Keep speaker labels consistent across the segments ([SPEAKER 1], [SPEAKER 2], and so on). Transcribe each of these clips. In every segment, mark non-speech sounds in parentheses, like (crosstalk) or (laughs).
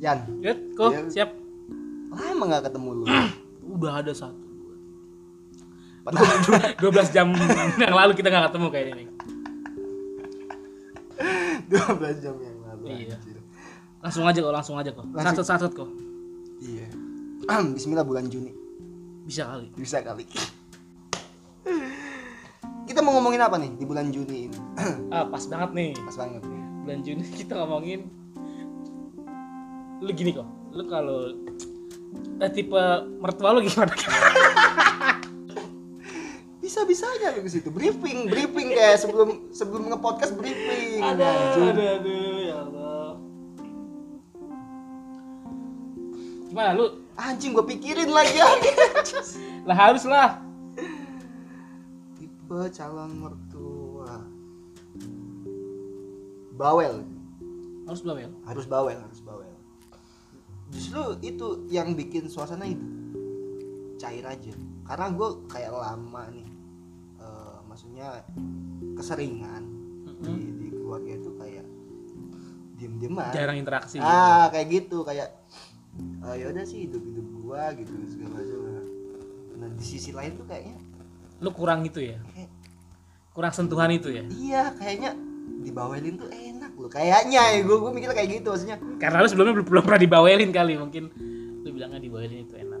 [SPEAKER 1] Yan,
[SPEAKER 2] Yuk, kok
[SPEAKER 1] Iya.
[SPEAKER 2] siap.
[SPEAKER 1] lama nggak ketemu lu.
[SPEAKER 2] Udah ada satu. (laughs)
[SPEAKER 1] Padahal
[SPEAKER 2] 12 jam yang lalu kita nggak ketemu kayaknya nih.
[SPEAKER 1] 12 jam yang lalu.
[SPEAKER 2] Iya.
[SPEAKER 1] anjir.
[SPEAKER 2] Langsung aja kok, langsung aja kok.
[SPEAKER 1] Langsung.
[SPEAKER 2] Satu-satu kok.
[SPEAKER 1] Iya. (clears throat) Bismillah bulan Juni.
[SPEAKER 2] Bisa kali.
[SPEAKER 1] Bisa kali. (clears throat) Kita mau ngomongin apa nih di bulan Juni ini? (clears throat)
[SPEAKER 2] Ah, pas banget nih.
[SPEAKER 1] Pas banget.
[SPEAKER 2] Bulan Juni (laughs) kita ngomongin lu gini kok. Lu kalau eh, tipe mertua lu gimana?
[SPEAKER 1] Bisa-bisanya lu ke situ briefing, briefing kayak sebelum sebelum nge-podcast briefing. anjir.
[SPEAKER 2] (laughs) aduh, aduh, ya Allah. Gimana lu?
[SPEAKER 1] Anjing gue pikirin lagi anjing.
[SPEAKER 2] Lah harus lah.
[SPEAKER 1] Tipe calon mertua. Bawel.
[SPEAKER 2] Harus belum ya?
[SPEAKER 1] Harus bawel, harus bawel. Justru itu yang bikin suasana itu cair aja. Karena gue kayak lama nih. Eh, maksudnya keseringan di, di keluarga itu kayak diem-dieman.
[SPEAKER 2] Jarang interaksi.
[SPEAKER 1] ah kayak gitu kayak "Ah, ya udah sih hidup hidup gua gitu segala macam nah di sisi lain tuh kayaknya
[SPEAKER 2] Lu kurang itu ya?
[SPEAKER 1] kayak,
[SPEAKER 2] Kurang sentuhan itu ya?
[SPEAKER 1] iya kayaknya dibawelin tuh enak loh kayaknya ya gua gua mikir kayak gitu maksudnya
[SPEAKER 2] Karena lu sebelumnya belum, belum pernah dibawelin kali mungkin lu bilangnya dibawelin itu enak.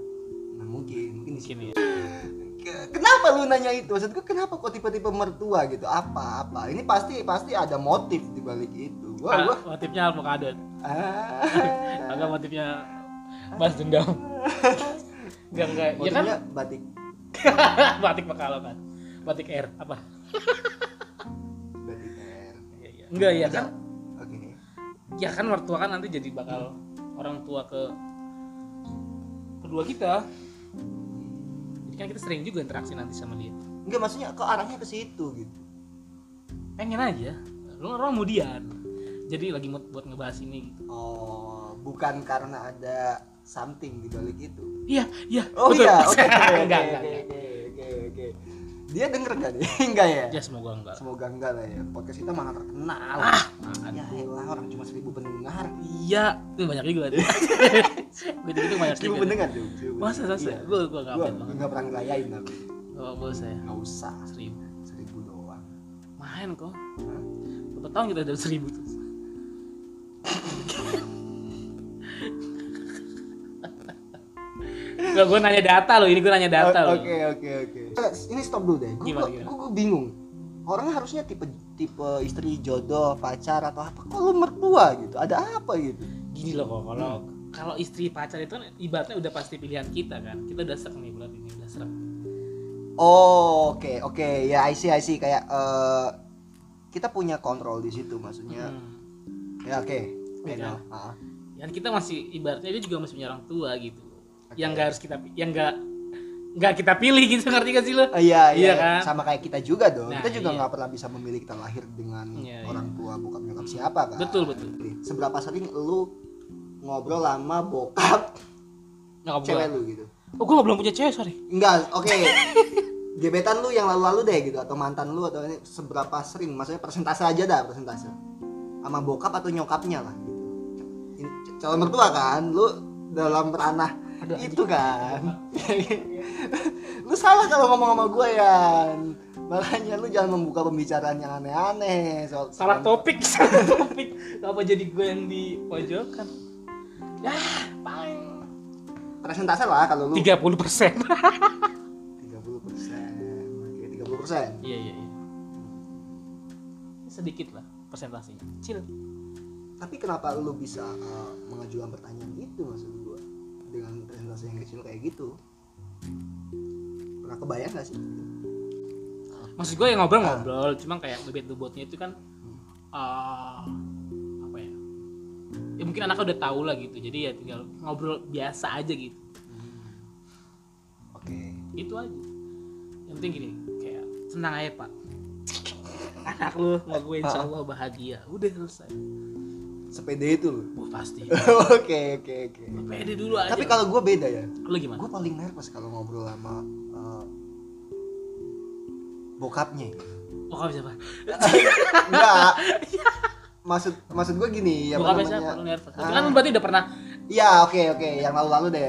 [SPEAKER 1] nah mungkin mungkin di sini
[SPEAKER 2] Mungkin ya.
[SPEAKER 1] Ke- kenapa lu nanya itu maksud gua kenapa kok tipe-tipe mertua gitu apa apa ini pasti pasti ada motif di balik itu gua gua
[SPEAKER 2] Ah, motifnya avocado.
[SPEAKER 1] ah,
[SPEAKER 2] Agak motifnya balas dendam. Enggak enggak. Ya kan Ah,
[SPEAKER 1] motifnya batik
[SPEAKER 2] batik Pekalongan. Batik air apa?
[SPEAKER 1] batik air
[SPEAKER 2] Iya, iya. Enggak ya kan?
[SPEAKER 1] oke
[SPEAKER 2] Ya kan mertua kan nanti jadi bakal orang tua ke kedua kita. Jadi kan kita sering juga interaksi nanti sama dia.
[SPEAKER 1] enggak maksudnya ke arahnya ke situ gitu
[SPEAKER 2] Pengen aja. Lu orang kemudian. Jadi lagi mood buat ngebahas ini gitu.
[SPEAKER 1] Oh, bukan karena ada something di balik itu.
[SPEAKER 2] Iya, iya.
[SPEAKER 1] Oh
[SPEAKER 2] (laughs) betul.
[SPEAKER 1] iya, oke. oke, oke,
[SPEAKER 2] enggak, enggak,
[SPEAKER 1] oke,
[SPEAKER 2] enggak.
[SPEAKER 1] oke, oke, oke. Dia denger gak nih? (laughs) enggak ya?
[SPEAKER 2] Ya semoga enggak. lah.
[SPEAKER 1] Semoga enggak lah ya. Podcast kita malah terkenal.
[SPEAKER 2] Ah. Apaan?
[SPEAKER 1] ya elah, orang cuma seribu pendengar.
[SPEAKER 2] Iya, itu banyak juga.
[SPEAKER 1] (laughs)
[SPEAKER 2] tuh. Gitu-gitu banyak
[SPEAKER 1] Seribu
[SPEAKER 2] juga.
[SPEAKER 1] pendengar tuh. seribu
[SPEAKER 2] Masa
[SPEAKER 1] pendengar.
[SPEAKER 2] masa?
[SPEAKER 1] Iya.
[SPEAKER 2] Gue gue enggak
[SPEAKER 1] Gua
[SPEAKER 2] apa banget.
[SPEAKER 1] enggak pernah ngerayain tapi.
[SPEAKER 2] Oh, bos saya.
[SPEAKER 1] Enggak usah.
[SPEAKER 2] Seribu.
[SPEAKER 1] Seribu doang.
[SPEAKER 2] Main kok.
[SPEAKER 1] Hah?
[SPEAKER 2] Berapa tahun kita dari seribu
[SPEAKER 1] (laughs)
[SPEAKER 2] tuh? Gak, gue nanya data loh. Ini gue nanya data
[SPEAKER 1] O-
[SPEAKER 2] loh.
[SPEAKER 1] Oh, Oke, oke, oke. Eh, Ini stop dulu deh. Gue
[SPEAKER 2] Gimana, gimana?
[SPEAKER 1] gue bingung. Orang harusnya tipe tipe istri jodoh, pacar atau apa? Kok lu mertua gitu? Ada apa gitu?
[SPEAKER 2] Gini loh kok. Kalau kalau istri pacar itu kan ibaratnya udah pasti pilihan kita kan. Kita udah serak nih bulan ini udah serak.
[SPEAKER 1] Oh, oke, oke. Ya, I see, I see. Kayak eh kita punya kontrol di situ maksudnya.
[SPEAKER 2] Hmm.
[SPEAKER 1] Ya, oke.
[SPEAKER 2] Iya.
[SPEAKER 1] I know. Ah,
[SPEAKER 2] dan kita masih ibaratnya dia juga masih punya orang tua gitu
[SPEAKER 1] Oke.
[SPEAKER 2] yang nggak harus kita yang nggak nggak kita pilih gitu ngerti gak sih lo
[SPEAKER 1] eh, Iya,
[SPEAKER 2] Iya
[SPEAKER 1] iya.
[SPEAKER 2] kan?
[SPEAKER 1] Sama kayak kita juga dong.
[SPEAKER 2] Nah,
[SPEAKER 1] kita juga
[SPEAKER 2] iya.
[SPEAKER 1] nggak pernah bisa memilih kita lahir dengan
[SPEAKER 2] Iya, iya.
[SPEAKER 1] orang tua bokap nyokap siapa kan.
[SPEAKER 2] betul betul
[SPEAKER 1] Seberapa sering lu ngobrol lama bokap
[SPEAKER 2] nyokap
[SPEAKER 1] cewek
[SPEAKER 2] gue
[SPEAKER 1] lu gitu?
[SPEAKER 2] oh gue belum punya cewek sorry
[SPEAKER 1] Enggak,
[SPEAKER 2] (laughs)
[SPEAKER 1] oke. Gebetan lu yang lalu-lalu deh gitu atau mantan lu atau ini seberapa sering? Maksudnya persentase aja dah, persentase. Sama bokap atau nyokapnya lah gitu. Ini c- calon mertua kan, lu dalam ranah
[SPEAKER 2] Aduh,
[SPEAKER 1] itu kan. (laughs) lu salah kalau ngomong sama gue ya. Makanya lu jangan membuka pembicaraan yang aneh-aneh soal
[SPEAKER 2] salah topik (laughs) salah topik apa jadi gue yang di pojokan ya paling
[SPEAKER 1] Persentase lah kalau lu 30%.
[SPEAKER 2] 30
[SPEAKER 1] (laughs)
[SPEAKER 2] persen
[SPEAKER 1] Oke, 30%.
[SPEAKER 2] iya iya iya sedikit lah persentasenya kecil
[SPEAKER 1] Tapi kenapa lu bisa uh, mengajukan pertanyaan itu maksud gua dengan presentasi yang kecil kayak gitu? Pernah kebayang gak sih?
[SPEAKER 2] maksud gue yang ngobrol-ngobrol cuma kayak bebet bobotnya itu kan eh, apa ya ya mungkin anaknya udah tahu lah gitu jadi ya tinggal ngobrol biasa aja gitu
[SPEAKER 1] Oke.
[SPEAKER 2] itu aja yang penting gini kayak senang aja pak anak lu mau gue insya Allah bahagia udah selesai
[SPEAKER 1] Sepede itu lu.
[SPEAKER 2] wah pasti
[SPEAKER 1] (laughs) Oke oke oke.
[SPEAKER 2] pede dulu aja
[SPEAKER 1] Tapi kalau gua beda ya.
[SPEAKER 2] lu gimana
[SPEAKER 1] Gua paling nervous kalau ngobrol sama uh, bokapnya.
[SPEAKER 2] oh kamu siapa
[SPEAKER 1] Iya,
[SPEAKER 2] (laughs)
[SPEAKER 1] Enggak. maksud maksud gua gini ya
[SPEAKER 2] Bokapnya
[SPEAKER 1] namanya-
[SPEAKER 2] siapa lu nervous itu
[SPEAKER 1] Ah.
[SPEAKER 2] kan lu berarti udah pernah
[SPEAKER 1] Iya oke oke yang lalu-lalu deh.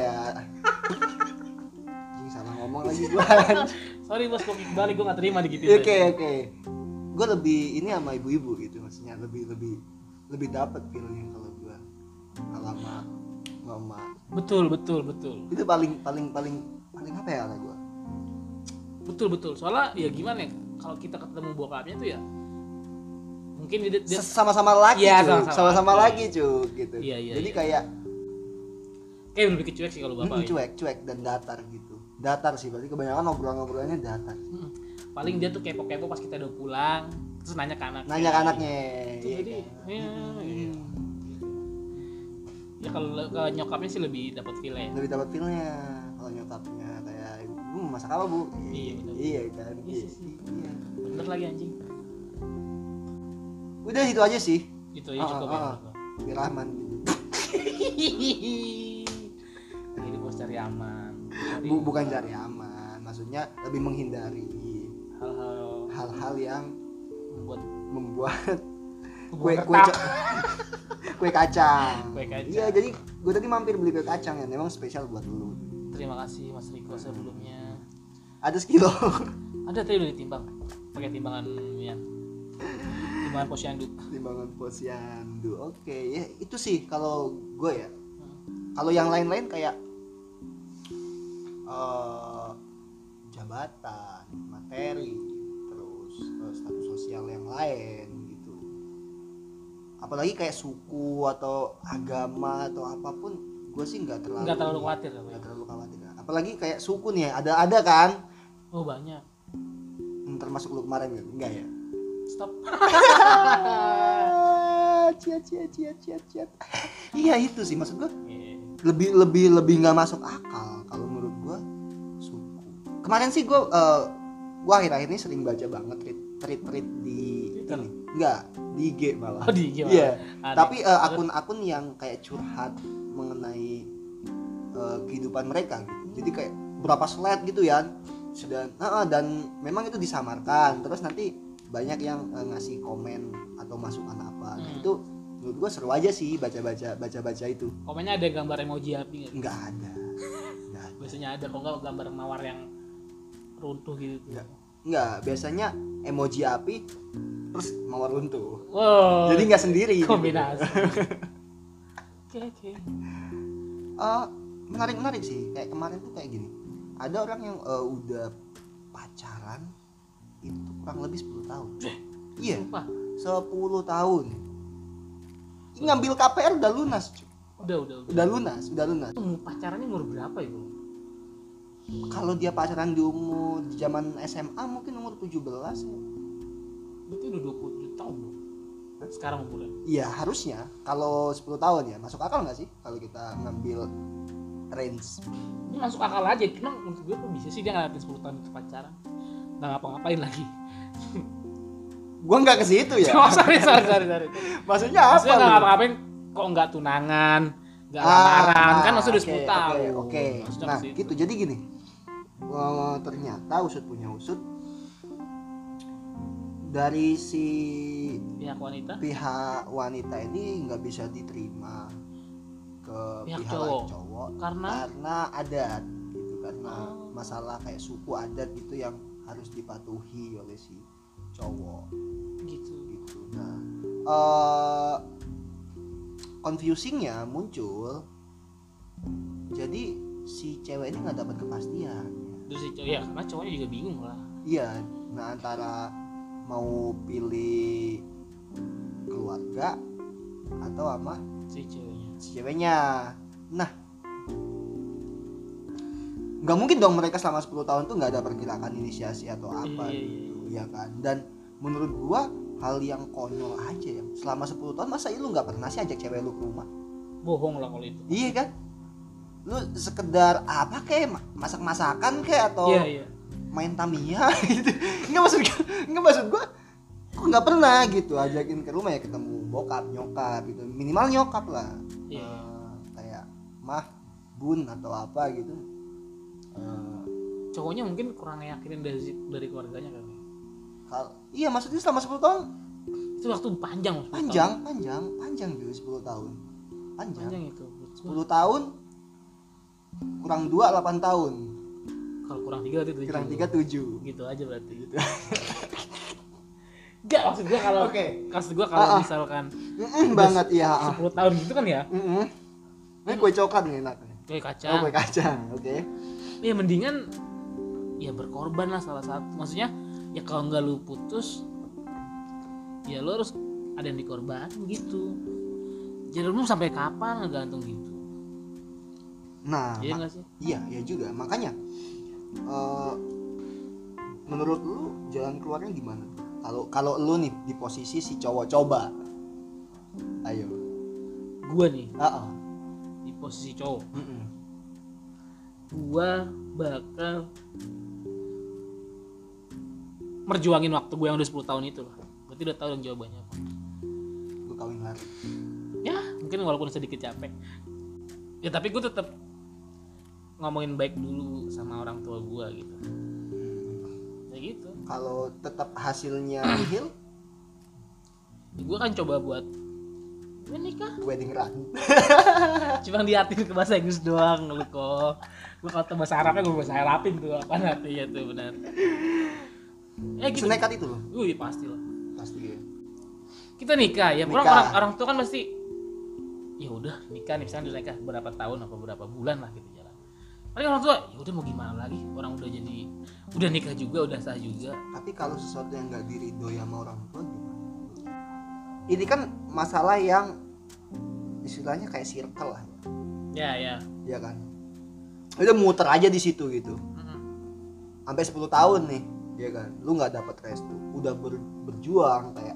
[SPEAKER 1] Anjing salah ngomong lagi gua.
[SPEAKER 2] sorry bos gue balik gue gak terima
[SPEAKER 1] Oke
[SPEAKER 2] digituin
[SPEAKER 1] oke. Gue lebih ini sama ibu-ibu gitu maksudnya lebih lebih lebih dapat feelnya kalau gua kalau sama mama
[SPEAKER 2] betul betul betul
[SPEAKER 1] itu paling paling paling paling apa ya ala gua
[SPEAKER 2] betul betul soalnya ya gimana ya kalau kita ketemu bokapnya tuh ya mungkin dia, dia
[SPEAKER 1] Se- sama-sama lagi
[SPEAKER 2] Iya,
[SPEAKER 1] cuk.
[SPEAKER 2] sama-sama
[SPEAKER 1] sama-sama
[SPEAKER 2] laki.
[SPEAKER 1] lagi cuk gitu
[SPEAKER 2] Iya, iya,
[SPEAKER 1] jadi
[SPEAKER 2] iya.
[SPEAKER 1] kayak
[SPEAKER 2] kayak lebih kecuek sih kalau
[SPEAKER 1] mm,
[SPEAKER 2] bapak ya.
[SPEAKER 1] cuek cuek dan datar gitu datar sih berarti kebanyakan obrolan-obrolannya datar
[SPEAKER 2] Hmm. paling dia tuh kepo-kepo pas kita udah pulang terus nanya ke anak kan.
[SPEAKER 1] nanya ke anaknya
[SPEAKER 2] Itu
[SPEAKER 1] iya
[SPEAKER 2] jadi
[SPEAKER 1] kan?
[SPEAKER 2] ya, ya. Ya, kalau ke nyokapnya sih lebih dapat feel ya
[SPEAKER 1] lebih dapat feelnya kalau nyokapnya kayak ibu mau masak apa bu
[SPEAKER 2] Iya, bener.
[SPEAKER 1] iya kan
[SPEAKER 2] Iya
[SPEAKER 1] iya,
[SPEAKER 2] sih, sih.
[SPEAKER 1] iya.
[SPEAKER 2] bener lagi anjing
[SPEAKER 1] udah itu aja sih
[SPEAKER 2] gitu ya cukup ya
[SPEAKER 1] Ah, ah, ah. Firahman
[SPEAKER 2] jadi bos cari aman Cari
[SPEAKER 1] Bu- bukan cari aman maksudnya lebih menghindari
[SPEAKER 2] hal-hal
[SPEAKER 1] hal-hal yang
[SPEAKER 2] buat
[SPEAKER 1] membuat kue kue
[SPEAKER 2] hubungan retak.
[SPEAKER 1] ca- (laughs) kue kacang
[SPEAKER 2] Kue kacang.
[SPEAKER 1] iya jadi gue tadi mampir beli kue kacang yang memang spesial buat lu
[SPEAKER 2] terima kasih mas Riko sebelumnya
[SPEAKER 1] ada sekilo (laughs)
[SPEAKER 2] ada tadi udah ditimbang pakai timbangan yang timbangan posyandu
[SPEAKER 1] timbangan posyandu oke ya itu sih kalau gue ya kalau yang lain-lain kayak eh jabatan materi terus eh, status sosial yang lain gitu apalagi kayak suku atau agama atau apapun gue sih nggak terlalu
[SPEAKER 2] nggak terlalu khawatir aku ya.
[SPEAKER 1] nggak terlalu khawatir apalagi kayak suku nih ya, ada ada kan
[SPEAKER 2] oh banyak
[SPEAKER 1] Hmm, termasuk lu kemarin kan? enggak ya (laughs)
[SPEAKER 2] stop
[SPEAKER 1] Ah, ciat ciat ciat ciat ciat iya itu sih maksud gue
[SPEAKER 2] Iya.
[SPEAKER 1] lebih lebih lebih nggak masuk akal kalau menurut gua suku kemarin sih gua eh, gua akhir-akhir ini sering baca banget tweet tweet tweet di ini
[SPEAKER 2] Twitter?
[SPEAKER 1] enggak di IG malah
[SPEAKER 2] oh di gimana
[SPEAKER 1] Iya.
[SPEAKER 2] Ada.
[SPEAKER 1] tapi eh, akun-akun yang kayak curhat mengenai eh, kehidupan mereka gitu. jadi kayak berapa slide gitu ya sudah nah, ah, dan memang itu disamarkan terus nanti banyak yang eh, ngasih komen atau masukan apa Nah,
[SPEAKER 2] Hmm.
[SPEAKER 1] itu menurut gua seru aja sih baca-baca baca-baca itu
[SPEAKER 2] komennya ada gambar emoji api
[SPEAKER 1] nggak
[SPEAKER 2] nggak
[SPEAKER 1] ada nggak ada.
[SPEAKER 2] biasanya ada kok nggak gambar mawar yang runtuh gitu
[SPEAKER 1] Nggak. nggak biasanya emoji api terus mawar runtuh
[SPEAKER 2] wow
[SPEAKER 1] jadi nggak sendiri gitu. (laughs)
[SPEAKER 2] kombinasi oke oke
[SPEAKER 1] Eh, menarik menarik sih kayak kemarin tuh kayak gini ada orang yang eh, udah pacaran itu kurang lebih 10 tahun iya
[SPEAKER 2] Sumpah.
[SPEAKER 1] 10 tahun Ini ngambil KPR udah lunas cuy.
[SPEAKER 2] udah udah udah
[SPEAKER 1] udah lunas udah lunas
[SPEAKER 2] Tuh, pacarannya umur berapa ya bro
[SPEAKER 1] kalau dia pacaran di umur di zaman SMA mungkin umur 17 ya
[SPEAKER 2] itu udah 27 tahun bro sekarang umurnya
[SPEAKER 1] Iya harusnya kalau 10 tahun ya masuk akal nggak sih kalau kita ngambil range
[SPEAKER 2] ini masuk akal aja emang menurut gue kok bisa sih dia ngeliatin 10 tahun itu pacaran nggak ngapa-ngapain lagi
[SPEAKER 1] gua nggak ke situ ya
[SPEAKER 2] (laughs) oh, sorry sorry sorry sorry
[SPEAKER 1] maksudnya apa
[SPEAKER 2] maksudnya nggak
[SPEAKER 1] lu?
[SPEAKER 2] ngapa-ngapain kok nggak tunangan nggak
[SPEAKER 1] Ah,
[SPEAKER 2] lamaran kan maksudnya udah
[SPEAKER 1] oke,
[SPEAKER 2] 10 tahun
[SPEAKER 1] oke, oke
[SPEAKER 2] Maksudnya
[SPEAKER 1] nah
[SPEAKER 2] ke situ.
[SPEAKER 1] gitu jadi gini eh, ternyata usut punya usut dari si
[SPEAKER 2] pihak wanita
[SPEAKER 1] pihak wanita ini nggak bisa diterima ke
[SPEAKER 2] Pihak
[SPEAKER 1] pihak,
[SPEAKER 2] cowok.
[SPEAKER 1] cowok
[SPEAKER 2] karena
[SPEAKER 1] karena adat gitu karena
[SPEAKER 2] Oh.
[SPEAKER 1] masalah kayak suku adat gitu yang harus dipatuhi oleh si cowok
[SPEAKER 2] gitu
[SPEAKER 1] gitu nah eh confusingnya muncul jadi si cewek ini nggak dapat kepastian
[SPEAKER 2] terus si cowok ya karena cowoknya juga bingung lah
[SPEAKER 1] iya nah antara mau pilih keluarga atau sama
[SPEAKER 2] si ceweknya
[SPEAKER 1] si ceweknya nah nggak mungkin dong mereka selama 10 tahun tuh nggak ada pergerakan inisiasi atau apa
[SPEAKER 2] Iya, iya,
[SPEAKER 1] gitu ya kan dan menurut gua hal yang konyol aja ya selama 10 tahun masa iya lu nggak pernah sih ajak cewek lu ke rumah
[SPEAKER 2] bohong lah kalau itu
[SPEAKER 1] iya kan lu sekedar apa kayak masak masakan kayak atau
[SPEAKER 2] iya iya
[SPEAKER 1] main Tamiya (laughs) gitu nggak maksud gua nggak maksud gua kok nggak pernah gitu ajakin ke rumah ya ketemu bokap nyokap gitu minimal nyokap lah
[SPEAKER 2] Iya.
[SPEAKER 1] Eh, kayak mah bun atau apa gitu Eh,
[SPEAKER 2] cowoknya mungkin kurang yakinin dari dari keluarganya kan
[SPEAKER 1] kal- iya maksudnya selama 10 tahun
[SPEAKER 2] itu waktu panjang loh, 10 tahun.
[SPEAKER 1] panjang panjang panjang dulu 10 tahun panjang
[SPEAKER 2] panjang itu menurut
[SPEAKER 1] 10 tahun kurang 2 8 tahun
[SPEAKER 2] kalau kurang tiga berarti tujuh
[SPEAKER 1] kurang 3 7
[SPEAKER 2] gitu aja berarti gitu Gak maksud gua kalau
[SPEAKER 1] Oke.
[SPEAKER 2] maksud gua kalau
[SPEAKER 1] Ah, ah.
[SPEAKER 2] misalkan
[SPEAKER 1] Mm-mm banget iya. ah.
[SPEAKER 2] (laughs) 10 tahun gitu kan ya
[SPEAKER 1] Mm-mm. Ini kue coklat nih enak.
[SPEAKER 2] kayak kaca
[SPEAKER 1] Oh, kue kacang. Oke.
[SPEAKER 2] ya mendingan ya berkorban lah salah satu maksudnya ya kalau nggak lu putus ya lu harus ada yang dikorbanin gitu jadi lu sampai kapan ngegantung gitu
[SPEAKER 1] Nah, ma-
[SPEAKER 2] iya nggak sih
[SPEAKER 1] iya, iya juga. Makanya eh, menurut lu jalan keluarnya gimana? Kalau kalau lu nih di posisi si cowok coba. Ayo.
[SPEAKER 2] gua nih
[SPEAKER 1] Heeh.
[SPEAKER 2] di posisi cowok
[SPEAKER 1] Mm-mm.
[SPEAKER 2] gua bakal merjuangin waktu gue yang udah 10 tahun itu lah berarti udah tahu dong jawabannya apa
[SPEAKER 1] Lu kawin lari.
[SPEAKER 2] ya mungkin walaupun sedikit capek ya tapi gue tetap ngomongin baik dulu sama orang tua gua gitu ya gitu
[SPEAKER 1] Kalau tetap hasilnya nihil,
[SPEAKER 2] gue kan coba buat gue nikah
[SPEAKER 1] wedding run.
[SPEAKER 2] cuma diartiin ke bahasa Inggris doang lu kok gue kalau bahasa Arabnya gue bahasa Arabin tuh apa artinya tuh benar eh gitu
[SPEAKER 1] Senekat itu loh.
[SPEAKER 2] Wih, pasti lah
[SPEAKER 1] Pasti ya.
[SPEAKER 2] kita nikah ya pulang
[SPEAKER 1] Nikah.
[SPEAKER 2] orang orang tua kan pasti ya udah nikah nih misalnya udah nikah berapa tahun apa berapa bulan lah gitu jalan paling orang tua ya udah mau gimana lagi orang udah jadi udah nikah juga udah sah juga
[SPEAKER 1] Tapi kalau sesuatu yang nggak diridhoi sama orang tua gimana? Ini kan masalah yang istilahnya kayak circle lah,
[SPEAKER 2] ya ya
[SPEAKER 1] ya kan? Udah muter aja di situ gitu.
[SPEAKER 2] Mm-mm.
[SPEAKER 1] Sampai 10 tahun nih, ya kan? Lu nggak dapat restu, udah ber- berjuang kayak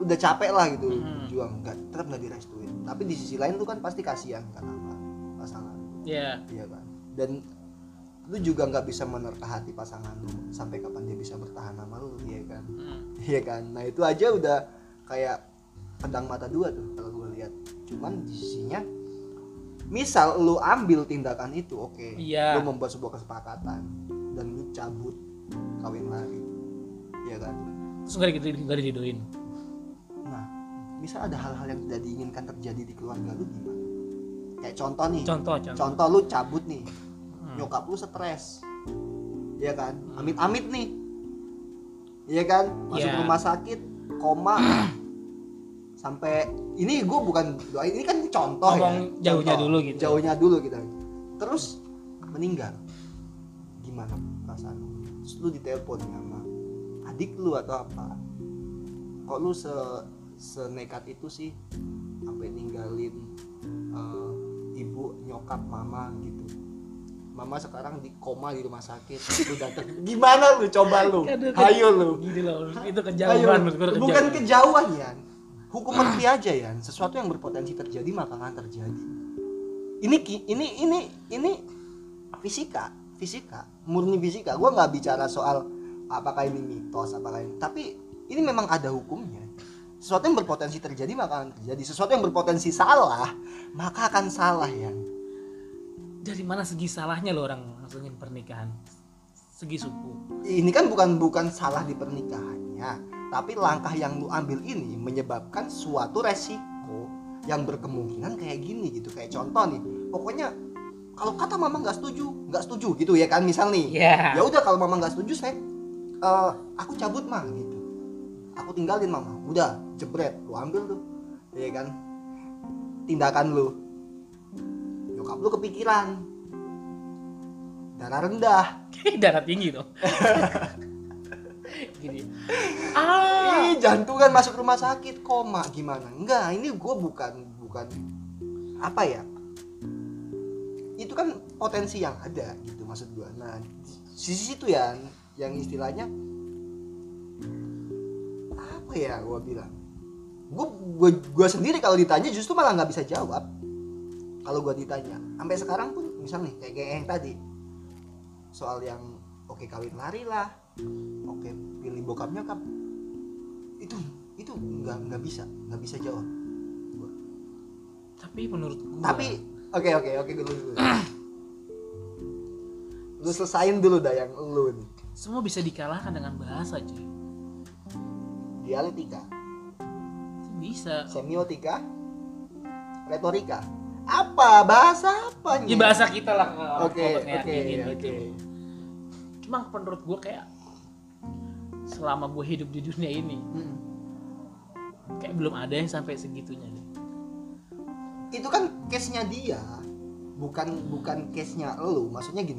[SPEAKER 1] udah capek lah gitu
[SPEAKER 2] Hmm.
[SPEAKER 1] berjuang nggak tetap nggak direstuin tapi di sisi lain tuh kan pasti kasihan kan sama pasangan
[SPEAKER 2] ya
[SPEAKER 1] iya kan dan lu juga nggak bisa menerka hati pasangan lu sampai kapan dia bisa bertahan sama lu iya kan
[SPEAKER 2] Mm.
[SPEAKER 1] Iya kan? Nah itu aja udah kayak pedang mata dua tuh kalau gue lihat. Cuman di sisinya, misal lu ambil tindakan itu, oke,
[SPEAKER 2] Iya.
[SPEAKER 1] lu membuat sebuah kesepakatan dan lu cabut kawin lari, iya kan?
[SPEAKER 2] terus nggak gitu nggak didoain
[SPEAKER 1] Nah, misal ada hal-hal yang tidak diinginkan terjadi di keluarga lu gimana? Kayak contoh nih,
[SPEAKER 2] contoh contoh
[SPEAKER 1] contoh lu cabut nih,
[SPEAKER 2] Hmm.
[SPEAKER 1] nyokap lu stres ya kan amit-amit nih ya kan masuk
[SPEAKER 2] Iya.
[SPEAKER 1] rumah sakit
[SPEAKER 2] (clears throat)
[SPEAKER 1] koma sampai ini gue bukan doa ini kan contoh
[SPEAKER 2] Ngomong
[SPEAKER 1] ya
[SPEAKER 2] jauhnya
[SPEAKER 1] Contoh.
[SPEAKER 2] dulu gitu.
[SPEAKER 1] jauhnya dulu gitu terus meninggal gimana perasaan lu? terus lu ditelepon sama adik lu atau apa kok lu se senekat itu sih sampai ninggalin eh, ibu nyokap mama gitu mama sekarang di koma di rumah sakit lu datang gimana lu coba lu
[SPEAKER 2] Aduh, kan-
[SPEAKER 1] ayo lu
[SPEAKER 2] gitu loh
[SPEAKER 1] ayo
[SPEAKER 2] itu kejauhan menurut gua udah
[SPEAKER 1] bukan
[SPEAKER 2] kejauhan.
[SPEAKER 1] kejauhan ya hukum mati aja ya sesuatu yang berpotensi terjadi makanan terjadi ini ki- ini ini ini fisika fisika murni fisika gua nggak bicara soal apakah ini mitos apakah ini tapi ini memang ada hukumnya sesuatu yang berpotensi terjadi maka akan terjadi sesuatu yang berpotensi salah maka akan salah ya
[SPEAKER 2] dari mana segi salahnya lo orang maksudnya pernikahan segi suku
[SPEAKER 1] ini kan bukan bukan salah di pernikahannya tapi langkah yang lu ambil ini menyebabkan suatu resiko yang berkemungkinan kayak gini gitu kayak contoh nih pokoknya kalau kata mama nggak setuju nggak setuju gitu ya kan misal nih
[SPEAKER 2] ya (laughs)
[SPEAKER 1] ya udah kalau mama nggak setuju saya eh, aku cabut mah gitu aku tinggalin mama udah jebret lu ambil tuh ya kan tindakan lu nyokap lu kepikiran darah rendah
[SPEAKER 2] darah tinggi (laughs) tuh gini ah
[SPEAKER 1] Ih, jantungan masuk rumah sakit koma gimana? Enggak, ini gue bukan bukan apa ya? Itu kan potensi yang ada gitu maksud gue. Nah, di sisi itu ya yang istilahnya apa ya gue bilang? Gue gue sendiri kalau ditanya justru malah nggak bisa jawab. Kalau gue ditanya, sampai sekarang pun misalnya kayak, kayak yang tadi soal yang oke kawin lari lah, oke pilih bokap nyokap, itu itu nggak nggak bisa nggak bisa jawab
[SPEAKER 2] tapi menurut gua
[SPEAKER 1] tapi oke oke oke dulu dulu lu selesain dulu dah yang lu nih
[SPEAKER 2] semua bisa dikalahkan dengan bahasa cuy
[SPEAKER 1] dialektika
[SPEAKER 2] bisa
[SPEAKER 1] semiotika retorika apa bahasa apa
[SPEAKER 2] Ya bahasa kita lah kalau orang
[SPEAKER 1] iya. oke
[SPEAKER 2] obatnya
[SPEAKER 1] oke
[SPEAKER 2] yakinin gitu.
[SPEAKER 1] oke
[SPEAKER 2] Cuma menurut gue kayak selama gue hidup di dunia ini
[SPEAKER 1] Mm.
[SPEAKER 2] kayak belum ada yang sampai segitunya deh.
[SPEAKER 1] itu kan case nya dia bukan bukan case nya lu maksudnya gini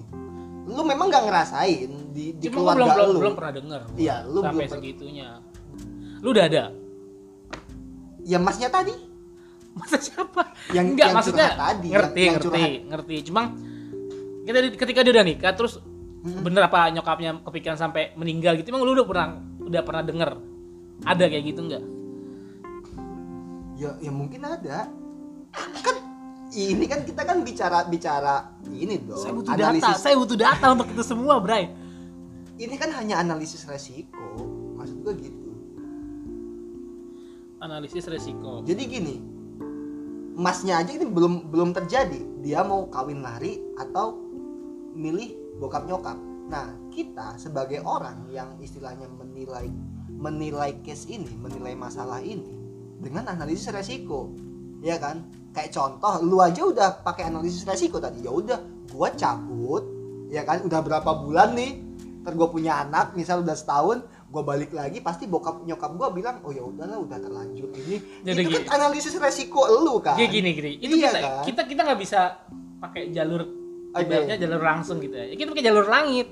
[SPEAKER 1] lu memang gak ngerasain di, di
[SPEAKER 2] Cuma gue belum,
[SPEAKER 1] keluarga
[SPEAKER 2] belum
[SPEAKER 1] lu
[SPEAKER 2] belum pernah denger. gua
[SPEAKER 1] Iya, lu
[SPEAKER 2] sampai
[SPEAKER 1] belum per-
[SPEAKER 2] segitunya. Lu udah ada?
[SPEAKER 1] ya masnya tadi
[SPEAKER 2] Masa siapa?
[SPEAKER 1] Yang-
[SPEAKER 2] Enggak,
[SPEAKER 1] yang
[SPEAKER 2] maksudnya
[SPEAKER 1] curhat tadi,
[SPEAKER 2] ngerti,
[SPEAKER 1] yang- yang
[SPEAKER 2] ngerti, ngerti. Cuma kita di- ketika dia udah nikah terus
[SPEAKER 1] Mm-mm.
[SPEAKER 2] bener apa nyokapnya kepikiran sampai meninggal gitu emang lu udah pernah udah pernah denger ada kayak gitu enggak?
[SPEAKER 1] ya ya mungkin ada kan ini kan kita kan bicara bicara ini dong
[SPEAKER 2] Saya butuh data, saya butuh data untuk itu semua, Bray.
[SPEAKER 1] ini kan hanya analisis resiko maksud gue gitu
[SPEAKER 2] Analisis resiko.
[SPEAKER 1] jadi gini masnya aja ini belum belum terjadi dia mau kawin lari atau milih bokap nyokap nah kita sebagai orang yang istilahnya menilai menilai case ini menilai masalah ini dengan analisis resiko ya kan kayak contoh lu aja udah pakai analisis resiko tadi ya udah gua cabut ya kan udah berapa bulan nih ntar gua punya anak misal udah setahun gua balik lagi pasti bokap nyokap gua bilang oh ya udahlah udah terlanjur ini
[SPEAKER 2] Jadi
[SPEAKER 1] itu
[SPEAKER 2] gini.
[SPEAKER 1] kan analisis resiko lu kan
[SPEAKER 2] Ya gini gini. Itu
[SPEAKER 1] Iya
[SPEAKER 2] kita,
[SPEAKER 1] kan?
[SPEAKER 2] kita kita nggak bisa pakai jalur
[SPEAKER 1] Oke.
[SPEAKER 2] ibaratnya jalur langsung gitu ya. Kita pakai jalur langit.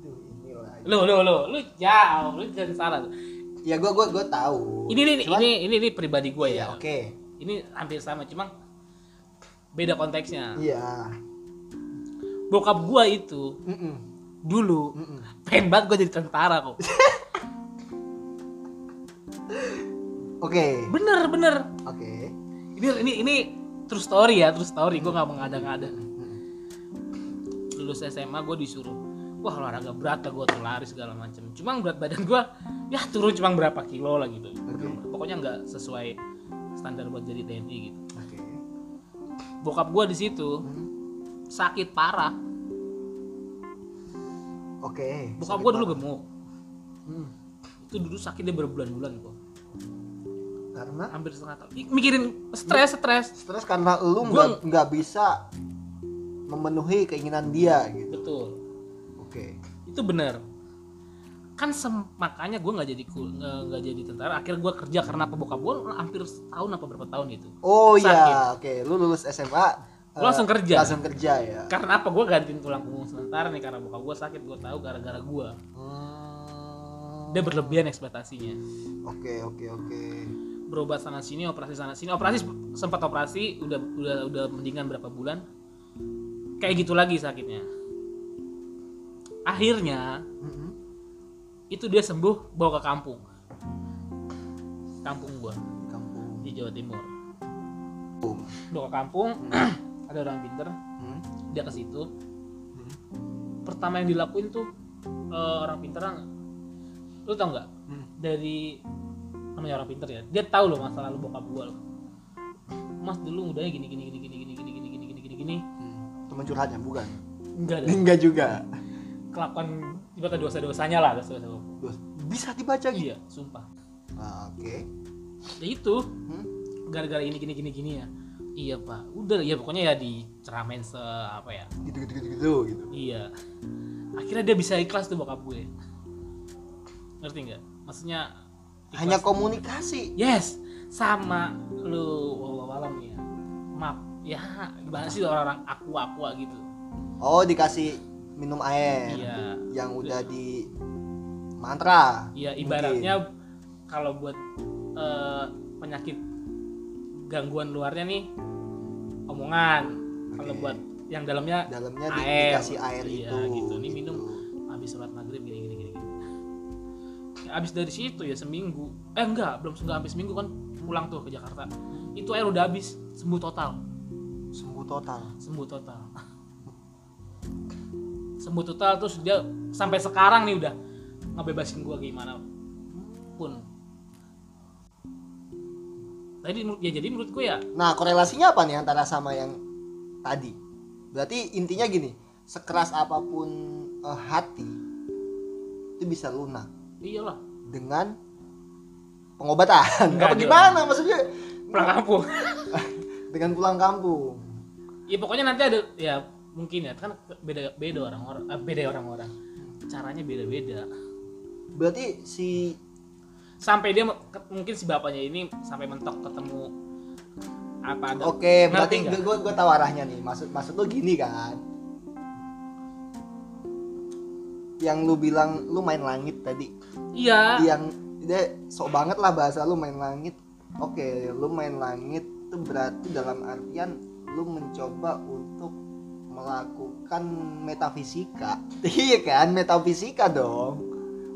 [SPEAKER 1] Aduh, ini lagi.
[SPEAKER 2] Lu lu lu lu jauh, lu jangan salah.
[SPEAKER 1] ya gua gua gua tahu
[SPEAKER 2] Ini ini
[SPEAKER 1] Cuman-
[SPEAKER 2] ini ini, ini pribadi gue
[SPEAKER 1] iya
[SPEAKER 2] ya.
[SPEAKER 1] oke
[SPEAKER 2] Ini hampir sama, cuma beda konteksnya.
[SPEAKER 1] iya
[SPEAKER 2] Bokap gue itu
[SPEAKER 1] Mm-mm.
[SPEAKER 2] dulu
[SPEAKER 1] Mm-mm.
[SPEAKER 2] pengen banget gue jadi tentara kok.
[SPEAKER 1] oke
[SPEAKER 2] Bener bener.
[SPEAKER 1] oke
[SPEAKER 2] Ini ini ini true story ya, true story. Gue nggak mengada-ngada.
[SPEAKER 1] Mm-mm.
[SPEAKER 2] lulus SMA gue disuruh wah olahraga berat lah gue tuh lari segala macam cuma berat badan gue ya turun cuma berapa kilo lah gitu
[SPEAKER 1] Oke.
[SPEAKER 2] pokoknya nggak sesuai standar buat jadi TNI gitu
[SPEAKER 1] oke
[SPEAKER 2] bokap gue di situ
[SPEAKER 1] Mm.
[SPEAKER 2] sakit parah
[SPEAKER 1] oke
[SPEAKER 2] bokap gue dulu gemuk
[SPEAKER 1] Hmm.
[SPEAKER 2] itu dulu sakitnya berbulan-bulan kok
[SPEAKER 1] karena
[SPEAKER 2] hampir setengah tahun Ih, mikirin stres stres
[SPEAKER 1] stres karena lu
[SPEAKER 2] Gua-
[SPEAKER 1] nggak nggak bisa memenuhi keinginan dia gitu
[SPEAKER 2] betul
[SPEAKER 1] oke
[SPEAKER 2] itu benar kan sem- makanya gue nggak jadi kul- nggak nggak jadi tentara akhirnya gue kerja karena apa bokap gue hampir setahun apa berapa tahun gitu
[SPEAKER 1] oh
[SPEAKER 2] Sakit.
[SPEAKER 1] iya oke lu lulus SMA
[SPEAKER 2] Lu langsung
[SPEAKER 1] eh,
[SPEAKER 2] kerja.
[SPEAKER 1] langsung kerja ya
[SPEAKER 2] karena apa gue gantiin tulang punggung sementara nih karena bokap gue sakit gue tahu gara-gara gue
[SPEAKER 1] Hmm.
[SPEAKER 2] dia berlebihan ekspektasinya
[SPEAKER 1] oke oke oke
[SPEAKER 2] berobat sana sini operasi sana sini operasi sempat operasi udah udah udah mendingan berapa bulan kayak gitu lagi sakitnya akhirnya
[SPEAKER 1] Mm-mm.
[SPEAKER 2] itu dia sembuh bawa ke kampung kampung gue
[SPEAKER 1] di kampung
[SPEAKER 2] di Jawa Timur bawa ke kampung (clears throat) ada orang pinter
[SPEAKER 1] Hmm?
[SPEAKER 2] dia ke situ
[SPEAKER 1] Hmm?
[SPEAKER 2] pertama yang dilakuin tuh eh, orang pinteran lu tau nggak
[SPEAKER 1] Hmm.
[SPEAKER 2] dari namanya orang pinter ya dia tahu loh masa lalu bokap gua loh mas dulu mudanya gini gini gini gini gini gini gini gini gini gini gini
[SPEAKER 1] Hmm. teman curhatnya bukan
[SPEAKER 2] enggak ada
[SPEAKER 1] enggak juga
[SPEAKER 2] kelakuan ibaratnya dosa dosanya lah dosa dosa
[SPEAKER 1] Bos, bisa dibaca gitu
[SPEAKER 2] iya sumpah
[SPEAKER 1] Ah, oke
[SPEAKER 2] ya itu
[SPEAKER 1] Hmm?
[SPEAKER 2] gara-gara ini gini gini gini ya iya pak udah ya pokoknya ya diceramain se apa ya
[SPEAKER 1] gitu gitu gitu gitu gitu
[SPEAKER 2] Iya. Akhirnya dia bisa ikhlas tuh bokap gue. Ngerti nggak? Maksudnya ikhlas.
[SPEAKER 1] hanya komunikasi
[SPEAKER 2] yes sama lu walau alam ya. Maaf ya gimana sih orang-orang aku aku gitu.
[SPEAKER 1] oh dikasih minum air
[SPEAKER 2] Iya.
[SPEAKER 1] yang udah di mantra
[SPEAKER 2] Iya
[SPEAKER 1] mungkin.
[SPEAKER 2] ibaratnya kalau buat eh, penyakit gangguan luarnya nih omongan. Kalau
[SPEAKER 1] Oke.
[SPEAKER 2] buat yang dalamnya
[SPEAKER 1] dalamnya di-
[SPEAKER 2] Air.
[SPEAKER 1] dikasih air
[SPEAKER 2] Iya,
[SPEAKER 1] itu
[SPEAKER 2] gitu. Ini
[SPEAKER 1] gitu.
[SPEAKER 2] minum. habis sholat maghrib gini gini gini gini Ya, abis dari situ ya seminggu eh enggak belum enggak habis seminggu kan pulang tuh ke Jakarta itu air udah habis sembuh total
[SPEAKER 1] sembuh total
[SPEAKER 2] sembuh total sembuh total terus dia sampai sekarang nih udah ngebebasin gua gimana pun tadi menurut ya jadi menurut gua ya
[SPEAKER 1] nah korelasinya apa nih antara sama yang tadi berarti intinya gini sekeras apapun eh, hati itu bisa lunak
[SPEAKER 2] iyalah
[SPEAKER 1] dengan pengobatan
[SPEAKER 2] Enggak
[SPEAKER 1] apa
[SPEAKER 2] ada.
[SPEAKER 1] gimana maksudnya
[SPEAKER 2] pulang kampung
[SPEAKER 1] dengan pulang kampung
[SPEAKER 2] ya pokoknya nanti ada ya mungkin ya kan beda beda orang-orang eh, beda orang-orang caranya beda-beda
[SPEAKER 1] berarti si
[SPEAKER 2] sampai dia me- ke- mungkin si bapaknya ini sampai mentok ketemu apa ada
[SPEAKER 1] oke
[SPEAKER 2] Ngerti
[SPEAKER 1] berarti
[SPEAKER 2] nggak?
[SPEAKER 1] gue gue tahu arahnya nih maksud maksud lo gini kan yang lu bilang lu main langit tadi
[SPEAKER 2] iya
[SPEAKER 1] yang dia sok banget lah bahasa lu main langit oke lu main langit itu berarti dalam artian lu mencoba untuk melakukan metafisika (laughs) iya kan metafisika dong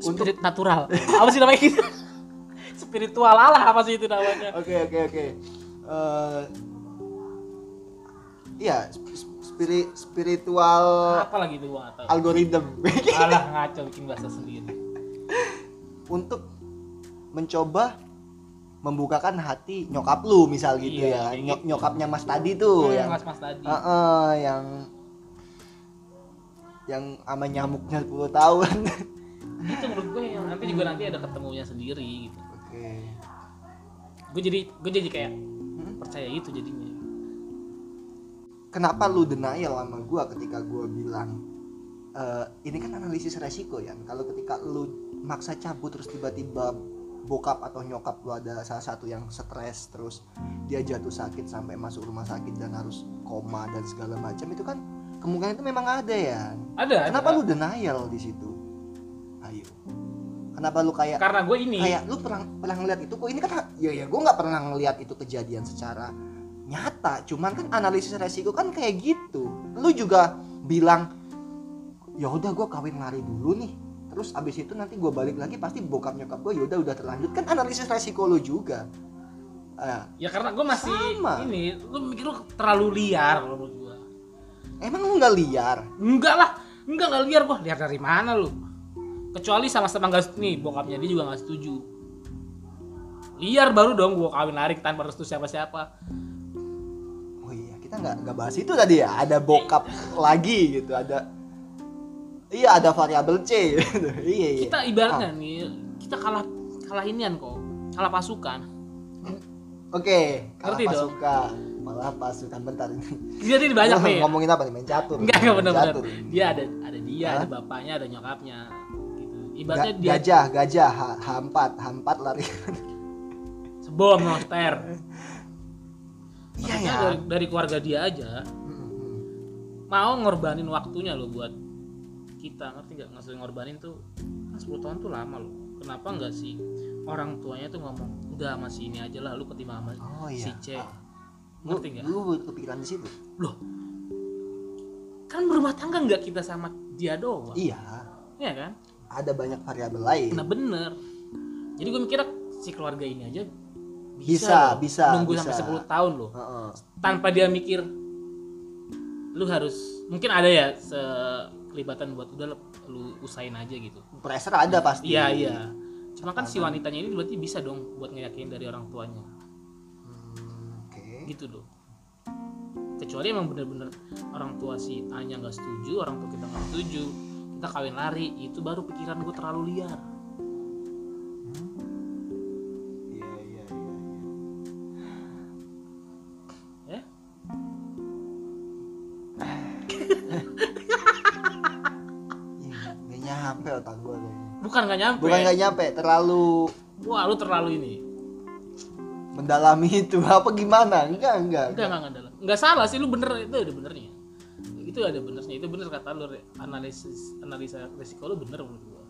[SPEAKER 1] untuk
[SPEAKER 2] spirit natural apa sih namanya gitu (laughs) spiritual lah apa sih itu namanya
[SPEAKER 1] oke oke oke Eh, iya sp- sp- spiri- spiritual
[SPEAKER 2] apa lagi itu gua nggak tahu
[SPEAKER 1] algoritm
[SPEAKER 2] alah ngaco bikin bahasa sendiri
[SPEAKER 1] (laughs) untuk mencoba membukakan hati nyokap lu misal gitu ya
[SPEAKER 2] Iya, kayak
[SPEAKER 1] Nyok-
[SPEAKER 2] gitu.
[SPEAKER 1] nyokapnya mas tadi tuh ya. Ah.
[SPEAKER 2] Hmm,
[SPEAKER 1] yang
[SPEAKER 2] mas mas tadi
[SPEAKER 1] Heeh, yang yang sama nyamuknya 10 tahun.
[SPEAKER 2] itu menurut gue yang nanti juga nanti ada ketemunya sendiri gitu
[SPEAKER 1] Oke.
[SPEAKER 2] gue jadi gue jadi kayak
[SPEAKER 1] Hmm?
[SPEAKER 2] percaya itu jadinya
[SPEAKER 1] Kenapa lu denial sama gua ketika gua bilang "Eh, ini kan analisis resiko ya. Kalau ketika lu maksa cabut terus tiba-tiba bokap atau nyokap lu ada salah satu yang stres terus dia jatuh sakit sampai masuk rumah sakit dan harus koma dan segala macam itu kan kemungkinan itu memang ada ya.
[SPEAKER 2] ada
[SPEAKER 1] Kenapa
[SPEAKER 2] ada.
[SPEAKER 1] lu denial di situ? Ayo. Kenapa lu kayak
[SPEAKER 2] karena gue ini
[SPEAKER 1] kayak lu pernah pernah ngeliat itu kok ini kan ya ya gue nggak pernah ngeliat itu kejadian secara nyata cuman kan analisis resiko kan kayak gitu lu juga bilang ya udah gue kawin lari dulu nih terus abis itu nanti gue balik lagi pasti bokap nyokap gue yaudah udah terlanjut kan analisis resiko lu juga Eh,
[SPEAKER 2] ya karena gue masih
[SPEAKER 1] Sama.
[SPEAKER 2] ini lu mikir lu terlalu liar lu menurut gue
[SPEAKER 1] emang lu nggak liar
[SPEAKER 2] enggak lah enggak enggak liar gue liar dari mana lu kecuali sama-sama nggak nih bokapnya dia juga nggak setuju liar baru dong gue kawin lari tanpa restu siapa-siapa
[SPEAKER 1] oh iya kita nggak nggak bahas itu tadi ya ada bokap lagi gitu ada iya ada variabel C (laughs) gitu. iya iya
[SPEAKER 2] kita ibaratnya nih kita kalah kalah inian kok kalah pasukan
[SPEAKER 1] Oke, kalah
[SPEAKER 2] Ngerti dong?
[SPEAKER 1] pasukan. Malah pasukan bentar ini.
[SPEAKER 2] jadi ini banyak
[SPEAKER 1] Ngom-
[SPEAKER 2] nih
[SPEAKER 1] Ngomongin apa nih? Main catur.
[SPEAKER 2] (laughs) enggak enggak
[SPEAKER 1] Main
[SPEAKER 2] benar-benar
[SPEAKER 1] catur.
[SPEAKER 2] dia ada ada dia
[SPEAKER 1] Hah?
[SPEAKER 2] ada bapaknya ada nyokapnya gitu
[SPEAKER 1] Ga-
[SPEAKER 2] ibaratnya dia
[SPEAKER 1] gajah, gajah, ha, hampat, hampat lari.
[SPEAKER 2] sebom
[SPEAKER 1] Iya
[SPEAKER 2] monster
[SPEAKER 1] Hmm,
[SPEAKER 2] Maksudnya
[SPEAKER 1] ya.
[SPEAKER 2] dari, dari keluarga dia aja
[SPEAKER 1] Mm-mm.
[SPEAKER 2] mau ngorbanin waktunya lo buat kita ngerti nggak maksudnya ngorbanin tuh kan 10 tahun tuh lama loh kenapa nggak sih orang tuanya tuh ngomong udah masih ini aja lah lu ketimbang sama
[SPEAKER 1] Oh iya.
[SPEAKER 2] si C
[SPEAKER 1] Ah.
[SPEAKER 2] ngerti nggak
[SPEAKER 1] Lu lu kepikiran di situ?
[SPEAKER 2] loh kan berumah tangga nggak kita sama dia doang
[SPEAKER 1] Iya.
[SPEAKER 2] Iya kan
[SPEAKER 1] Ada banyak variabel lain.
[SPEAKER 2] nah bener jadi gue mikir si keluarga ini aja
[SPEAKER 1] Bisa,
[SPEAKER 2] loh.
[SPEAKER 1] bisa,
[SPEAKER 2] nunggu
[SPEAKER 1] bisa.
[SPEAKER 2] sampai 10 tahun loh
[SPEAKER 1] Heeh.
[SPEAKER 2] tanpa dia mikir lu harus mungkin ada ya kelibatan buat udah lu- lu usahain aja gitu
[SPEAKER 1] Pressure ada pasti.
[SPEAKER 2] iya iya cuma kan si wanitanya ini berarti bisa dong buat ngeyakin dari orang tuanya
[SPEAKER 1] Hmm, Oke.
[SPEAKER 2] gitu loh kecuali emang bener-bener orang tua si A nya nggak setuju orang tua kita nggak setuju kita kawin lari itu baru pikiran gue terlalu liar
[SPEAKER 1] Iya, iya, iya. iya.
[SPEAKER 2] ya
[SPEAKER 1] Ih, Nggak nyampe otak gua kayaknya.
[SPEAKER 2] bukan nggak nyampe
[SPEAKER 1] Bukan nggak nyampe, terlalu
[SPEAKER 2] wah lu terlalu ini
[SPEAKER 1] mendalami itu (laughs) apa gimana? Enggak, enggak.
[SPEAKER 2] enggak enggak enggak dalam enggak salah sih lu bener itu ada benernya itu ada benernya itu bener kata lu Re. analisis analisa risiko lu bener menurut gua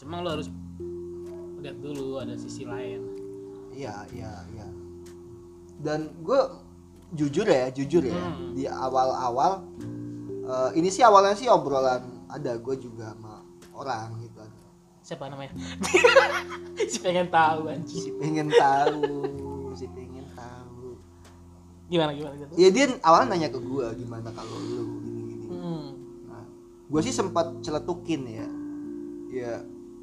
[SPEAKER 2] cuma lu harus lihat dulu ada sisi lain
[SPEAKER 1] Iya, iya, iya. Dan gue jujur ya, jujur ya,
[SPEAKER 2] Hmm.
[SPEAKER 1] di awal-awal eh, ini sih awalnya sih obrolan ada gue juga sama orang gitu.
[SPEAKER 2] siapa namanya (laughs) si pengen tahu anjing
[SPEAKER 1] Si pengen tahu, si pengen tahu.
[SPEAKER 2] gimana gimana gitu
[SPEAKER 1] Ya dia awalnya nanya ke gue gimana kalau lu gini-gini.
[SPEAKER 2] hmm.
[SPEAKER 1] Nah, gue sih sempat celetukin ya, ya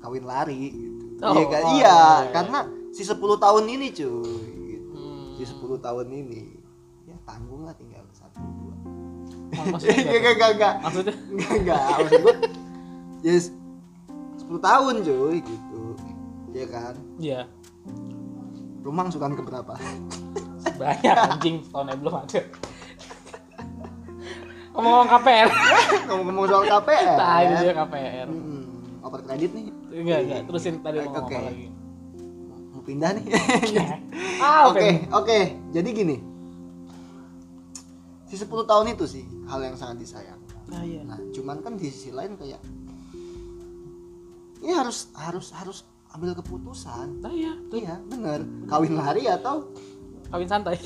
[SPEAKER 1] kawin lari gitu.
[SPEAKER 2] Oh,
[SPEAKER 1] Iya kan?
[SPEAKER 2] oh,
[SPEAKER 1] iya,
[SPEAKER 2] iya.
[SPEAKER 1] karena si 10 tahun ini cuy. Gitu.
[SPEAKER 2] Hmm.
[SPEAKER 1] di 10 tahun ini ya tanggung lah tinggal satu dua gak
[SPEAKER 2] Oh,
[SPEAKER 1] (laughs)
[SPEAKER 2] maksudnya,
[SPEAKER 1] gak gak gak
[SPEAKER 2] maksudnya
[SPEAKER 1] gak gak maksud gue ya s- 10 tahun cuy gitu ya kan
[SPEAKER 2] ya
[SPEAKER 1] rumah angsuran keberapa (laughs)
[SPEAKER 2] banyak anjing tahunnya belum ada ngomong KPR
[SPEAKER 1] ngomong-ngomong soal
[SPEAKER 2] (laughs)
[SPEAKER 1] KPR
[SPEAKER 2] nah ini
[SPEAKER 1] ya.
[SPEAKER 2] dia KPR
[SPEAKER 1] Mm-mm. over kredit nih
[SPEAKER 2] enggak enggak terusin tadi mau ngomong
[SPEAKER 1] Oke.
[SPEAKER 2] apa lagi
[SPEAKER 1] mau pindah
[SPEAKER 2] (laughs)
[SPEAKER 1] nih
[SPEAKER 2] ah
[SPEAKER 1] oke
[SPEAKER 2] oke
[SPEAKER 1] oke jadi gini si 10 tahun itu sih hal yang sangat disayang
[SPEAKER 2] nah iya
[SPEAKER 1] Nah, cuman kan di sisi lain kayak ini harus harus harus ambil keputusan.
[SPEAKER 2] nah iya
[SPEAKER 1] Iya, bener. Kawin lari atau
[SPEAKER 2] kawin santai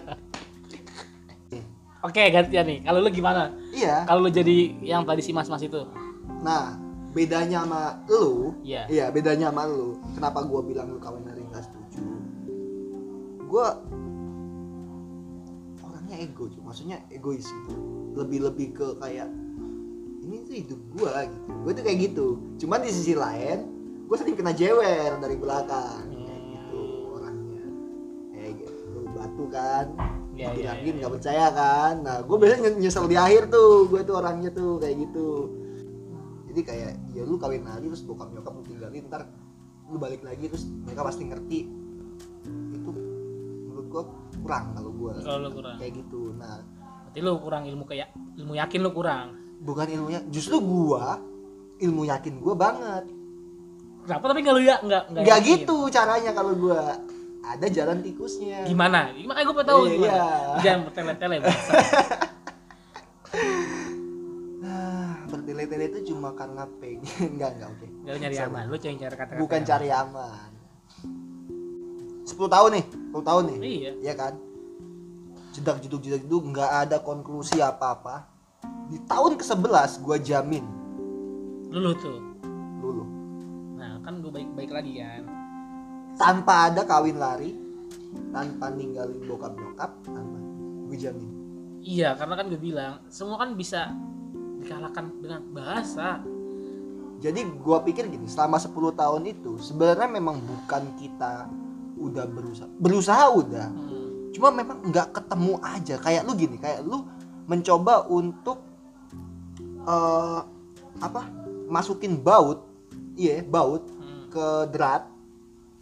[SPEAKER 2] (laughs) oke gantian nih kalau lu gimana
[SPEAKER 1] eh, iya.
[SPEAKER 2] kalau lu jadi yang tadi si mas-mas itu
[SPEAKER 1] Nah, bedanya sama lu,
[SPEAKER 2] Iya.
[SPEAKER 1] iya bedanya sama lu. Kenapa gua bilang lu kawin lari nggak setuju? Gua orangnya ego, cuy. maksudnya egois gitu. Lebih-lebih ke kayak ini tuh hidup gua gitu. Gua tuh kayak gitu. Cuman di sisi lain, gua sering kena jewer dari belakang kayak
[SPEAKER 2] Hmm.
[SPEAKER 1] gitu orangnya. Kayak gitu, batu kan.
[SPEAKER 2] Iya,
[SPEAKER 1] Makin
[SPEAKER 2] iya,
[SPEAKER 1] yakin
[SPEAKER 2] iya.
[SPEAKER 1] nggak percaya kan. Nah, gua biasanya ny- nyesel di akhir tuh. Gua tuh orangnya tuh kayak gitu jadi kayak ya lu kawin lagi terus bokap nyokap lu tinggalin ntar lu balik lagi terus mereka pasti ngerti itu menurut gua kurang kalau gua
[SPEAKER 2] kalau Oh, lu kurang
[SPEAKER 1] kayak gitu nah
[SPEAKER 2] berarti lu kurang ilmu kayak ilmu yakin lu kurang
[SPEAKER 1] bukan ilmunya justru gua ilmu yakin gua banget
[SPEAKER 2] kenapa tapi kalau ya nggak nggak
[SPEAKER 1] nggak
[SPEAKER 2] yakin?
[SPEAKER 1] gitu caranya kalau gua ada jalan tikusnya
[SPEAKER 2] gimana gimana Eh, gua pengen tahu
[SPEAKER 1] Iya,
[SPEAKER 2] gimana
[SPEAKER 1] iya.
[SPEAKER 2] jangan bertele-tele bangsa.
[SPEAKER 1] Ah, bertele-tele itu cuma karena pengen (laughs) nggak nggak oke
[SPEAKER 2] nggak lu nyari
[SPEAKER 1] Sabar.
[SPEAKER 2] aman lu cari cari kata-kata
[SPEAKER 1] bukan
[SPEAKER 2] yang-
[SPEAKER 1] cari aman 10 tahun nih 10 tahun nih
[SPEAKER 2] iya
[SPEAKER 1] ya kan jedak jeduk jedak jeduk nggak ada konklusi apa apa di tahun ke 11 gue jamin
[SPEAKER 2] lulu tuh
[SPEAKER 1] lulu
[SPEAKER 2] nah kan gue baik-baik lagi kan
[SPEAKER 1] tanpa ada kawin lari tanpa ninggalin bokap nyokap tanpa gue jamin
[SPEAKER 2] Iya, karena kan gue bilang semua kan bisa dikalahkan dengan bahasa.
[SPEAKER 1] jadi gue pikir gini selama 10 tahun itu sebenarnya memang bukan kita udah berusaha berusaha udah
[SPEAKER 2] Hmm.
[SPEAKER 1] cuma memang nggak ketemu aja kayak lu gini kayak lu mencoba untuk eh apa masukin baut iya baut
[SPEAKER 2] hmm,
[SPEAKER 1] ke drat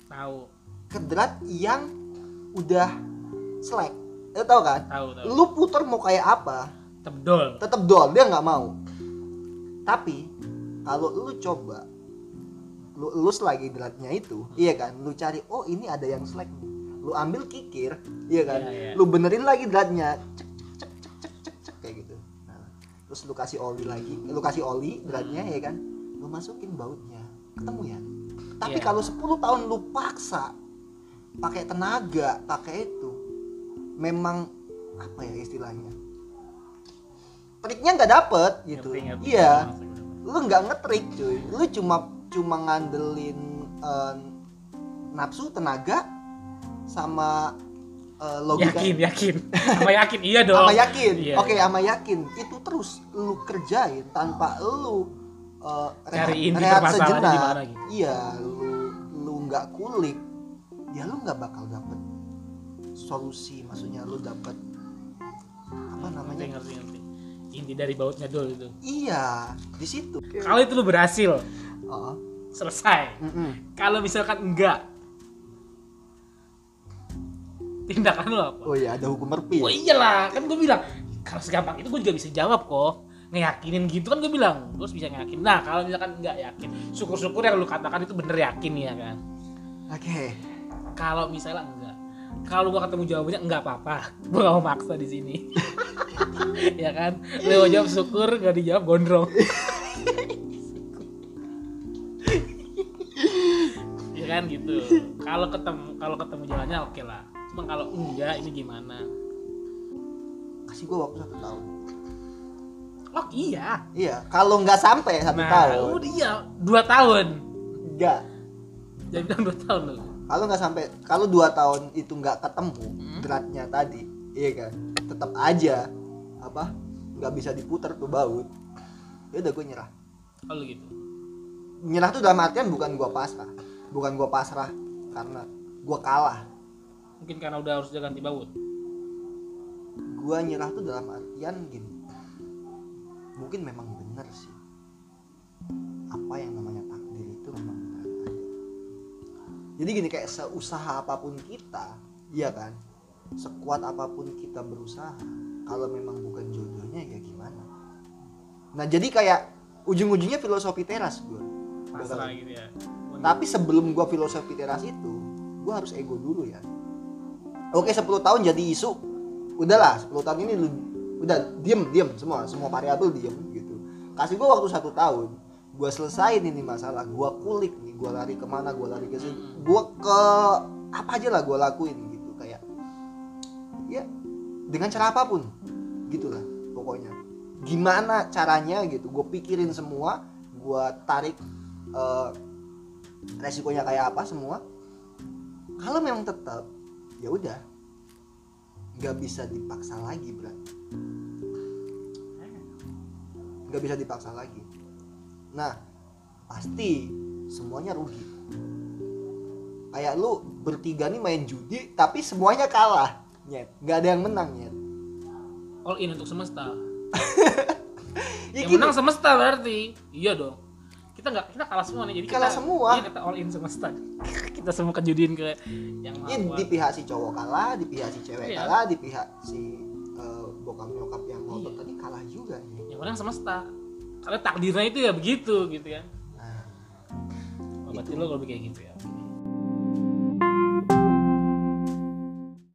[SPEAKER 2] Tahu,
[SPEAKER 1] ke drat yang udah slack lu tau kan
[SPEAKER 2] tahu, tahu.
[SPEAKER 1] lu puter mau kayak apa
[SPEAKER 2] Tebdol.
[SPEAKER 1] tetap doll dia nggak mau tapi kalau lu coba lu elus lagi dratnya itu iya kan lu cari oh ini ada yang slack nih lu ambil kikir iya kan
[SPEAKER 2] Iya, iya.
[SPEAKER 1] lu benerin lagi dratnya cek cek cek cek cek cek kayak gitu nah, terus lu kasih oli lagi lu kasih oli dratnya ya kan lu masukin bautnya ketemu ya tapi
[SPEAKER 2] Iya.
[SPEAKER 1] kalau 10 tahun lu paksa pakai tenaga pakai itu memang apa ya istilahnya triknya nggak dapet gitu
[SPEAKER 2] Ngerti, ngerti.
[SPEAKER 1] iya
[SPEAKER 2] Maksud gue.
[SPEAKER 1] lu nggak ngetrik cuy lu cuma cuma ngandelin eh, nafsu tenaga sama eh, logika
[SPEAKER 2] Yakin, yakin. Sama yakin, iya dong.
[SPEAKER 1] sama ya- yakin
[SPEAKER 2] Iya, Hmm.
[SPEAKER 1] oke sama yakin itu terus lu kerjain tanpa lu eh, rehat,
[SPEAKER 2] Cari inti
[SPEAKER 1] rehat
[SPEAKER 2] permasalahannya
[SPEAKER 1] sejenak
[SPEAKER 2] di mana gitu.
[SPEAKER 1] iya lu lu nggak kulik ya lu nggak bakal dapet solusi maksudnya lu dapet apa
[SPEAKER 2] Ngerti,
[SPEAKER 1] namanya
[SPEAKER 2] ngerti, ngerti. Inti dari bautnya dol itu.
[SPEAKER 1] iya di situ
[SPEAKER 2] Kalau itu lu berhasil,
[SPEAKER 1] Oh,
[SPEAKER 2] selesai.
[SPEAKER 1] mm-mm.
[SPEAKER 2] Kalau misalkan enggak, tindakan lu apa?
[SPEAKER 1] oh iya ada hukum merpi
[SPEAKER 2] Oh iyalah, kan gue bilang kalau segampang itu gue juga bisa jawab kok. Ngeyakinin gitu kan gue bilang, gue harus bisa ngeyakinin. Nah kalau misalkan nggak yakin, syukur-syukur yang lu katakan itu bener yakin ya kan.
[SPEAKER 1] oke
[SPEAKER 2] Kalau misalnya enggak, kalau gue ketemu jawabannya enggak apa-apa, (laughs) gue gak mau maksa di sini. (laughs) ya kan, lu mau jawab syukur, gak dijawab gondrong. (laughs) ya kan gitu. Kalau ketemu kalau ketemu jalannya oke lah. Cuma kalau enggak ini gimana?
[SPEAKER 1] kasih gua waktu satu tahun
[SPEAKER 2] Oh iya,
[SPEAKER 1] iya kalau nggak sampai satu
[SPEAKER 2] Nah,
[SPEAKER 1] tahun
[SPEAKER 2] udah iya, dua tahun.
[SPEAKER 1] nggak
[SPEAKER 2] Jadi bilang dua tahun lu.
[SPEAKER 1] kalau nggak sampai kalau dua tahun itu nggak ketemu dratnya tadi iya kan tetap aja apa nggak bisa diputar tuh baut ya udah gue nyerah
[SPEAKER 2] Kalau gitu.
[SPEAKER 1] nyerah tuh dalam artian bukan gua pasrah bukan gua pasrah karena gua kalah
[SPEAKER 2] Mungkin karena udah harus udah ganti baut.
[SPEAKER 1] gua nyerah tuh dalam artian gini mungkin memang benar sih apa yang namanya takdir itu memang benar aja. jadi gini kayak seusaha apapun kita iya kan sekuat apapun kita berusaha kalau memang bukan jodohnya ya gimana nah jadi kayak ujung-ujungnya filosofi teras gue
[SPEAKER 2] pasrah gitu ya
[SPEAKER 1] tapi sebelum gue filosofi teras itu gue harus ego dulu ya oke 10 tahun jadi isu udahlah 10 tahun ini lu udah diem diem semua semua variabel diem gitu kasih gue waktu satu tahun gue selesai ini masalah gue kulik nih gue lari kemana gue lari ke sini gue ke apa aja lah gue lakuin gitu kayak ya dengan cara apapun gitulah pokoknya gimana caranya gitu gue pikirin semua gue tarik eh, resikonya kayak apa semua kalau memang tetap ya udah nggak bisa dipaksa lagi berarti nggak bisa dipaksa lagi nah pasti semuanya rugi kayak lu bertiga nih main judi tapi semuanya kalah nyet nggak ada yang menang nyet
[SPEAKER 2] all in untuk semesta
[SPEAKER 1] ya
[SPEAKER 2] yang
[SPEAKER 1] gini,
[SPEAKER 2] menang semesta berarti iya dong kita nggak kita kalah semua nih jadi
[SPEAKER 1] Kalah
[SPEAKER 2] kita,
[SPEAKER 1] semua.
[SPEAKER 2] iya, kita all in semesta (laughs) kita semua kejudiin ke
[SPEAKER 1] ya,
[SPEAKER 2] yang maha
[SPEAKER 1] di
[SPEAKER 2] kuasa
[SPEAKER 1] pihak si cowok kalah di pihak si cewek
[SPEAKER 2] Iya.
[SPEAKER 1] kalah di pihak si eh, bokap nyokap yang ngotot
[SPEAKER 2] Iya.
[SPEAKER 1] tadi kalah juga nyet.
[SPEAKER 2] yang menang semesta karena takdirnya itu ya begitu gitu kan
[SPEAKER 1] nah
[SPEAKER 2] oh,
[SPEAKER 1] Itu.
[SPEAKER 2] berarti lo kalau kayak gitu ya